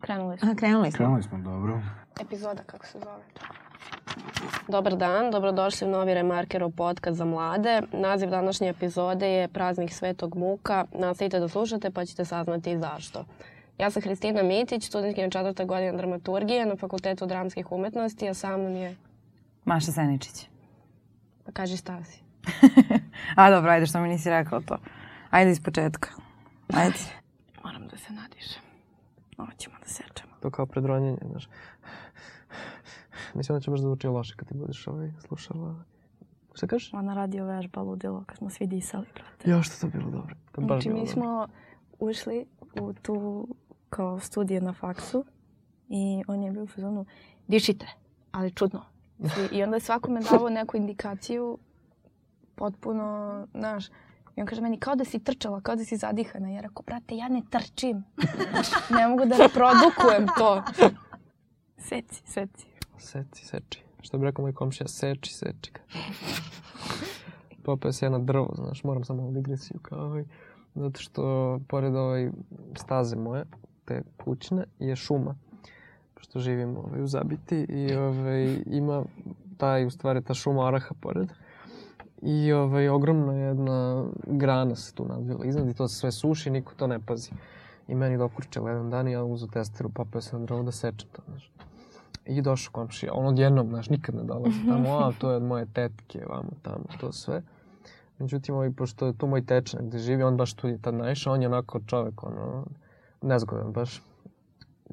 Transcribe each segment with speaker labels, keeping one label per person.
Speaker 1: Krenuli smo.
Speaker 2: Aha, krenuli smo.
Speaker 3: Krenuli smo, dobro.
Speaker 1: Epizoda, kako se zove to? Dobar dan, dobrodošli u novi Remarkerov podcast za mlade. Naziv današnje epizode je Praznik Svetog Muka. Nastavite da slušate pa ćete saznati i zašto. Ja sam Hristina Mitić, studentkinja četvrta godina dramaturgije na Fakultetu dramskih umetnosti, a sa mnom je,
Speaker 2: Maša Seničić.
Speaker 1: pa kaži šta si.
Speaker 2: A dobro, ajde što mi nisi rekao to. Ajde iz početka. Ajde.
Speaker 1: Moram da se nadišem. Ovo ćemo da sečemo.
Speaker 4: To kao predronjenje, znaš. Mislim da će baš zvuči loše kad ti budeš ovaj slušala. Šta kažeš?
Speaker 5: Ona radio vežba ludilo kad smo svi disali, brate.
Speaker 4: Ja, što to bilo dobro. To baš
Speaker 5: Znači,
Speaker 4: bilo
Speaker 5: mi
Speaker 4: dobro.
Speaker 5: smo ušli u tu kao studije na faksu i on je bio u fazonu dišite, ali čudno. I- I onda je svakome davao neku indikaciju potpuno, znaš, i on kaže meni kao da si trčala, kao da si zadihana. Ja rekao, brate, ja ne trčim. ne mogu da reprodukujem to. Seci, seci.
Speaker 4: Seci, seči. Što bi rekao moj komšija, seči, seči ga. Popeo se ja na drvo, znaš, moram samo malo digresiju kao ovaj. Zato što pored ovaj staze moje, te kućne, je šuma. Pošto živim ovaj, u Zabiti i ovaj, ima taj, u stvari, ta šuma Araha pored. I ovaj, ogromna jedna grana se tu nadvila iznad i to se sve suši, niko to ne pazi. I meni dokurčelo jedan dan i ja uzu testeru, popeo se na drvo da sečem to, znaš. I došao komšija, on odjednom, znaš, nikad ne dolazi tamo, a to je od moje tetke, vamo tamo, to sve. Međutim, ovaj, pošto je tu moj tečan gde živi, on baš tu je tad naišao, on je onako čovek, ono, nezgodan baš.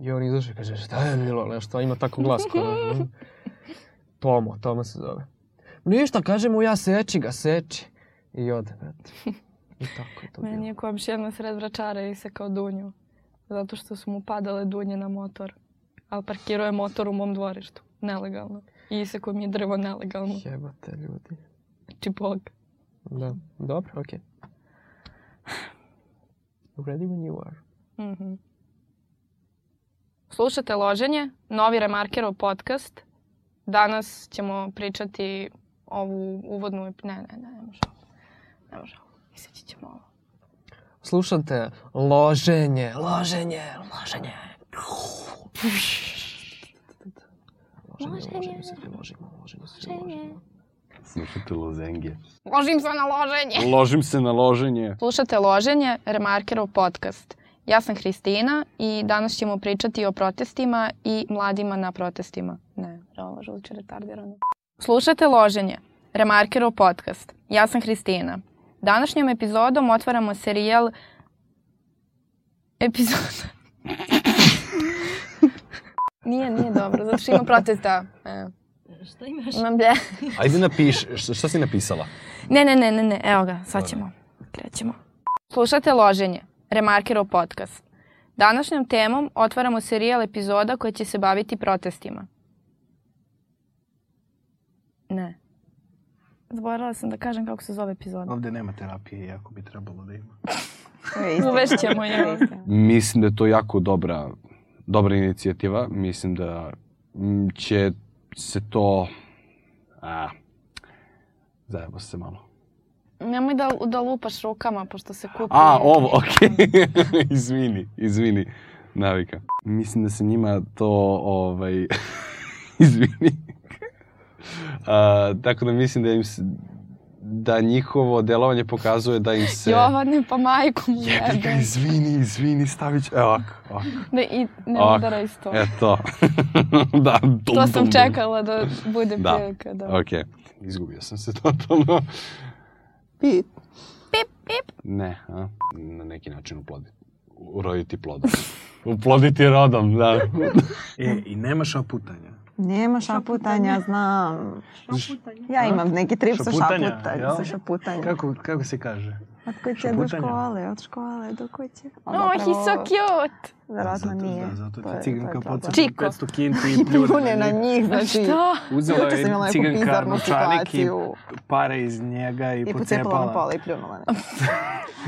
Speaker 4: I on izašao i kaže, šta je Milo, nešto, ima tako glas kao, ono, Tomo, Tomo se zove. Ništa, kaže mu, ja seči ga, seči. I ode, brate. I tako je to bilo.
Speaker 5: Meni je komšija na sred vračara i se kao dunju. Zato što su mu padale dunje na motor. Ali parkirao je motor u mom dvorištu. Nelegalno. I isekao mi je drvo nelegalno.
Speaker 4: Jebate, ljudi.
Speaker 5: Či bog.
Speaker 4: Da, dobro, okej. Ready when you are.
Speaker 5: Mhm. Slušate Loženje, novi Remarkerov podcast. Danas ćemo pričati ovu uvodnu... ep- Ne, ne, ne, ne može ovo. Ne može ovo. Iseći ćemo ovo.
Speaker 4: Slušate loženje, loženje, loženje. Loženje, loženje, svi ložimo, loženje, svi ložimo.
Speaker 3: Slušate lozenge.
Speaker 5: Ložim se na loženje!
Speaker 3: Ložim se na loženje.
Speaker 5: Slušate Loženje, Remarkerov podcast. Ja sam Hristina i danas ćemo pričati o protestima i mladima na protestima. Ne, ovo žuće retardirano. Slušate Loženje, Remarkerov podcast. Ja sam Hristina. Današnjom epizodom otvaramo serijal epizoda. nije, nije dobro, zato što ima protesta. E.
Speaker 1: Šta imaš?
Speaker 5: Imam blje.
Speaker 6: Ajde napiš, šta, šta si napisala?
Speaker 5: Ne, ne, ne, ne, ne, evo ga, sad ćemo. Krećemo. Slušate Loženje, Remarkerov podcast. Današnjom temom otvaramo serijal epizoda koja će se baviti protestima. Ne. Zaboravila sam da kažem kako se zove epizoda.
Speaker 3: Ovde nema terapije, iako bi trebalo da ima.
Speaker 5: Uvešćemo je.
Speaker 6: Mislim da je to jako dobra, dobra inicijativa. Mislim da mm, će se to... A, zajebo se malo.
Speaker 5: Nemoj da, da lupaš rukama, pošto se kupi.
Speaker 6: A, ovo, okej. izvini, izvini. Navika. Mislim da se njima to, ovaj... izvini. A, tako da mislim da im se, da njihovo delovanje pokazuje da im se...
Speaker 5: Jovane, pa majkom
Speaker 6: Jebi ga, izvini, izvini, stavit ću... Evo ovako, ovako.
Speaker 5: Da i ne
Speaker 6: Ak,
Speaker 5: udaraj sto.
Speaker 6: Eto. da, dum,
Speaker 5: To sam
Speaker 6: dum,
Speaker 5: čekala da bude
Speaker 6: Da.
Speaker 5: prilika. Da.
Speaker 6: Dum. Ok, izgubio sam se totalno. Pip.
Speaker 5: Pip,
Speaker 6: pip. Ne, a? na neki način uploditi. Uroditi plodom. uploditi rodom, da.
Speaker 3: E, i nema šaputanja.
Speaker 2: Nema šaputanja, znam. Ja imam neki trip sa
Speaker 3: Šaputanja,
Speaker 2: šaputanja.
Speaker 3: jel?
Speaker 2: Sa šaputanja.
Speaker 3: Kako, kako se kaže?
Speaker 2: Od kuće do
Speaker 3: Šaputanja.
Speaker 2: škole, od škole do kuće. Ali
Speaker 5: Oh,
Speaker 2: zapravo,
Speaker 5: he's so cute!
Speaker 2: Verovatno
Speaker 3: zato,
Speaker 2: nije.
Speaker 3: Da, zato
Speaker 2: To
Speaker 3: ti
Speaker 2: je- to je
Speaker 3: ciganka
Speaker 2: problem.
Speaker 3: podsjeti
Speaker 5: Čiko.
Speaker 3: 500 kinti i pljune
Speaker 2: Pljune na njih, znači...
Speaker 5: Šta?
Speaker 3: Uzela
Speaker 2: Juče sam
Speaker 3: je
Speaker 2: imala neku
Speaker 3: ciganka
Speaker 2: bizarnu
Speaker 3: novčanik i
Speaker 2: situaciju
Speaker 3: pare iz njega i,
Speaker 2: i pocepala na
Speaker 3: pocepala.
Speaker 2: pola i pljunula na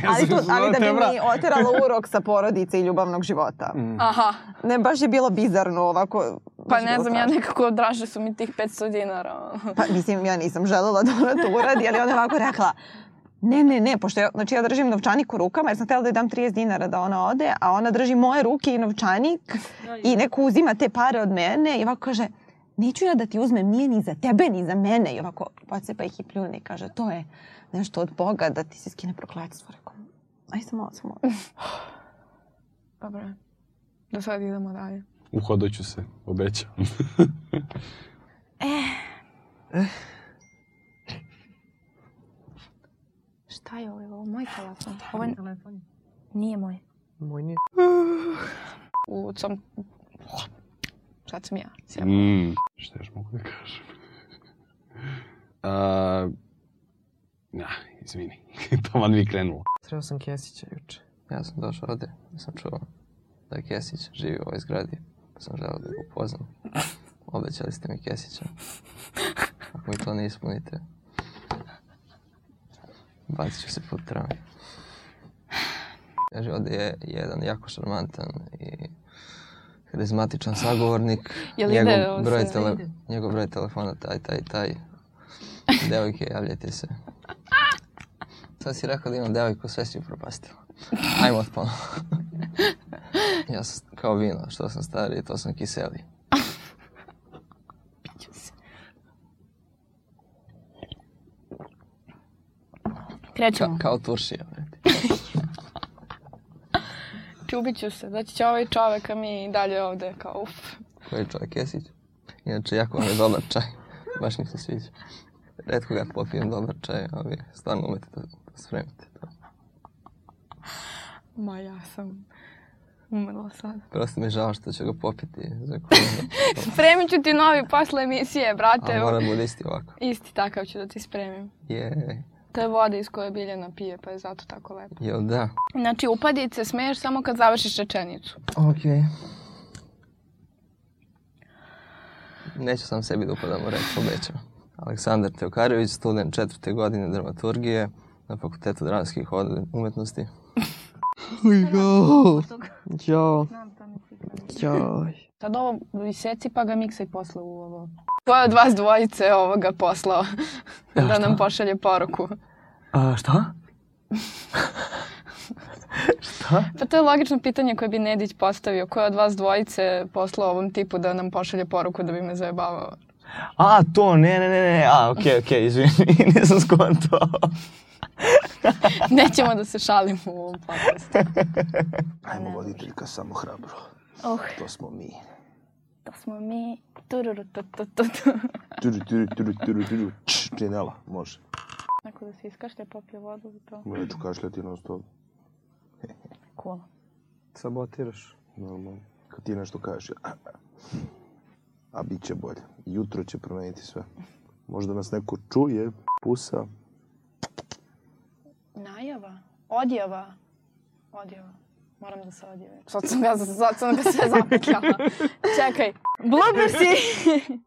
Speaker 3: Ja
Speaker 2: ali,
Speaker 3: sam
Speaker 2: to, ali da bi
Speaker 3: zvao te,
Speaker 2: mi oterala urok sa porodice i ljubavnog života.
Speaker 3: Mm.
Speaker 5: Aha.
Speaker 2: Ne, baš je bilo bizarno ovako.
Speaker 5: Pa
Speaker 2: baš je
Speaker 5: ne
Speaker 2: bilo
Speaker 5: znam, ja
Speaker 2: strašno.
Speaker 5: nekako draže su mi tih 500 dinara. ono.
Speaker 2: Pa mislim, ja nisam želela da ona to uradi, ali ona je ovako rekla,
Speaker 7: Ne, ne, ne, pošto ja, znači ja držim novčanik u rukama jer sam htjela da joj dam 30 dinara da ona ode, a ona drži moje ruke i novčanik i neko uzima te pare od mene i ovako kaže, neću ja da ti uzmem, nije ni za tebe, ni za mene. I ovako pocepa ih i pljune i kaže, to je nešto od Boga da ti se skine prokletstvo. Rekao, aj samo, samo.
Speaker 5: Dobro. je. Do sad idemo dalje.
Speaker 6: Uhodat ću se, obećam.
Speaker 5: Šta je ovo? Je li Ovo moj telefon. Ovo je... Nije moj.
Speaker 4: Moj nije.
Speaker 5: U tom... Sad sam ja. sjela.
Speaker 6: Mm. Šta još mogu da kažem? A, na, izvini. Taman mi je krenulo.
Speaker 4: Sreo sam Kesića juče. Ja sam došao ovde, sam čuo da Kesić živi u ovoj zgradi, pa sam želeo da ga upoznam. Obećali ste mi Kesića. Ako mi to ne ispunite, bacit ću se pod tramvaj. Kaže, ovde je jedan jako šarmantan i karizmatičan sagovornik.
Speaker 5: Jel ide ovo
Speaker 4: njegov, broj
Speaker 5: sve?
Speaker 4: tele, njegov broj telefona taj, taj, taj. Devojke, javljajte se. Sad si rekao da imam devojku, sve si upropastila. Ajmo od ponovo. ja sam kao vino, što sam stariji, to sam kiseli. Ka,
Speaker 5: Krećemo.
Speaker 4: kao turšija, brate.
Speaker 5: Čubit ću se. Znači će ovaj čovek, a mi dalje ovde kao uf.
Speaker 4: Koji je čovjek jesić? Inače, jako vam je dobar čaj. Baš mi se sviđa. Redko ga popijem dobar čaj, a vi stvarno umete da, da spremite. To.
Speaker 5: Ma ja sam umrla sad.
Speaker 4: Prosto mi je žao što ću ga popiti za kunu.
Speaker 5: Spremit ću ti novi posle emisije, brate.
Speaker 4: A mora da bude isti ovako.
Speaker 5: Isti takav ću da ti spremim.
Speaker 4: Je,
Speaker 5: To je voda iz koje biljana pije, pa je zato tako lepo.
Speaker 4: jel da?
Speaker 5: Znači, upadice smeješ samo kad završiš rečenicu.
Speaker 4: Okej. Neću sam sebi da upadam u reč, obećam. Aleksandar Teokarević, student četvrte godine dramaturgije na Fakultetu dramskih od- umetnosti. Jo. Jo.
Speaker 1: Sad ovo iseci pa ga miksaj posle u ovo.
Speaker 5: Ko je od vas dvojice je ovoga poslao da nam pošalje poruku?
Speaker 4: A, šta?
Speaker 5: Pa to je logično pitanje koje bi Nedić postavio. Ko je od vas dvojice poslao ovom tipu da nam pošalje poruku da bi me zajebavao?
Speaker 4: A, to, ne, ne, ne, ne, a, okej, okej, izvini, nisam skontao.
Speaker 5: Nećemo da se šalimo u ovom podcastu.
Speaker 8: Ajmo voditeljka samo hrabro.
Speaker 5: Oh,
Speaker 8: To smo mi.
Speaker 5: to smo mi. Tururu, tu, tu, tu, tu.
Speaker 8: Turu, turu, turu, turu, turu. Č, činela, može.
Speaker 5: Neko da se iskašlja, popije vodu za to.
Speaker 8: Moja ću kašljati non stop.
Speaker 5: Cool.
Speaker 4: Sabotiraš.
Speaker 8: Normalno. Kad ti nešto kažeš, a, a. a bit će bolje. Jutro će promeniti sve. Možda nas neko čuje, pusa.
Speaker 5: Najava? Odjava? Odjava. Moram da se odjavim. Sad sam ga, sad sam ga sve zapetljala. Čekaj. Bloopersi!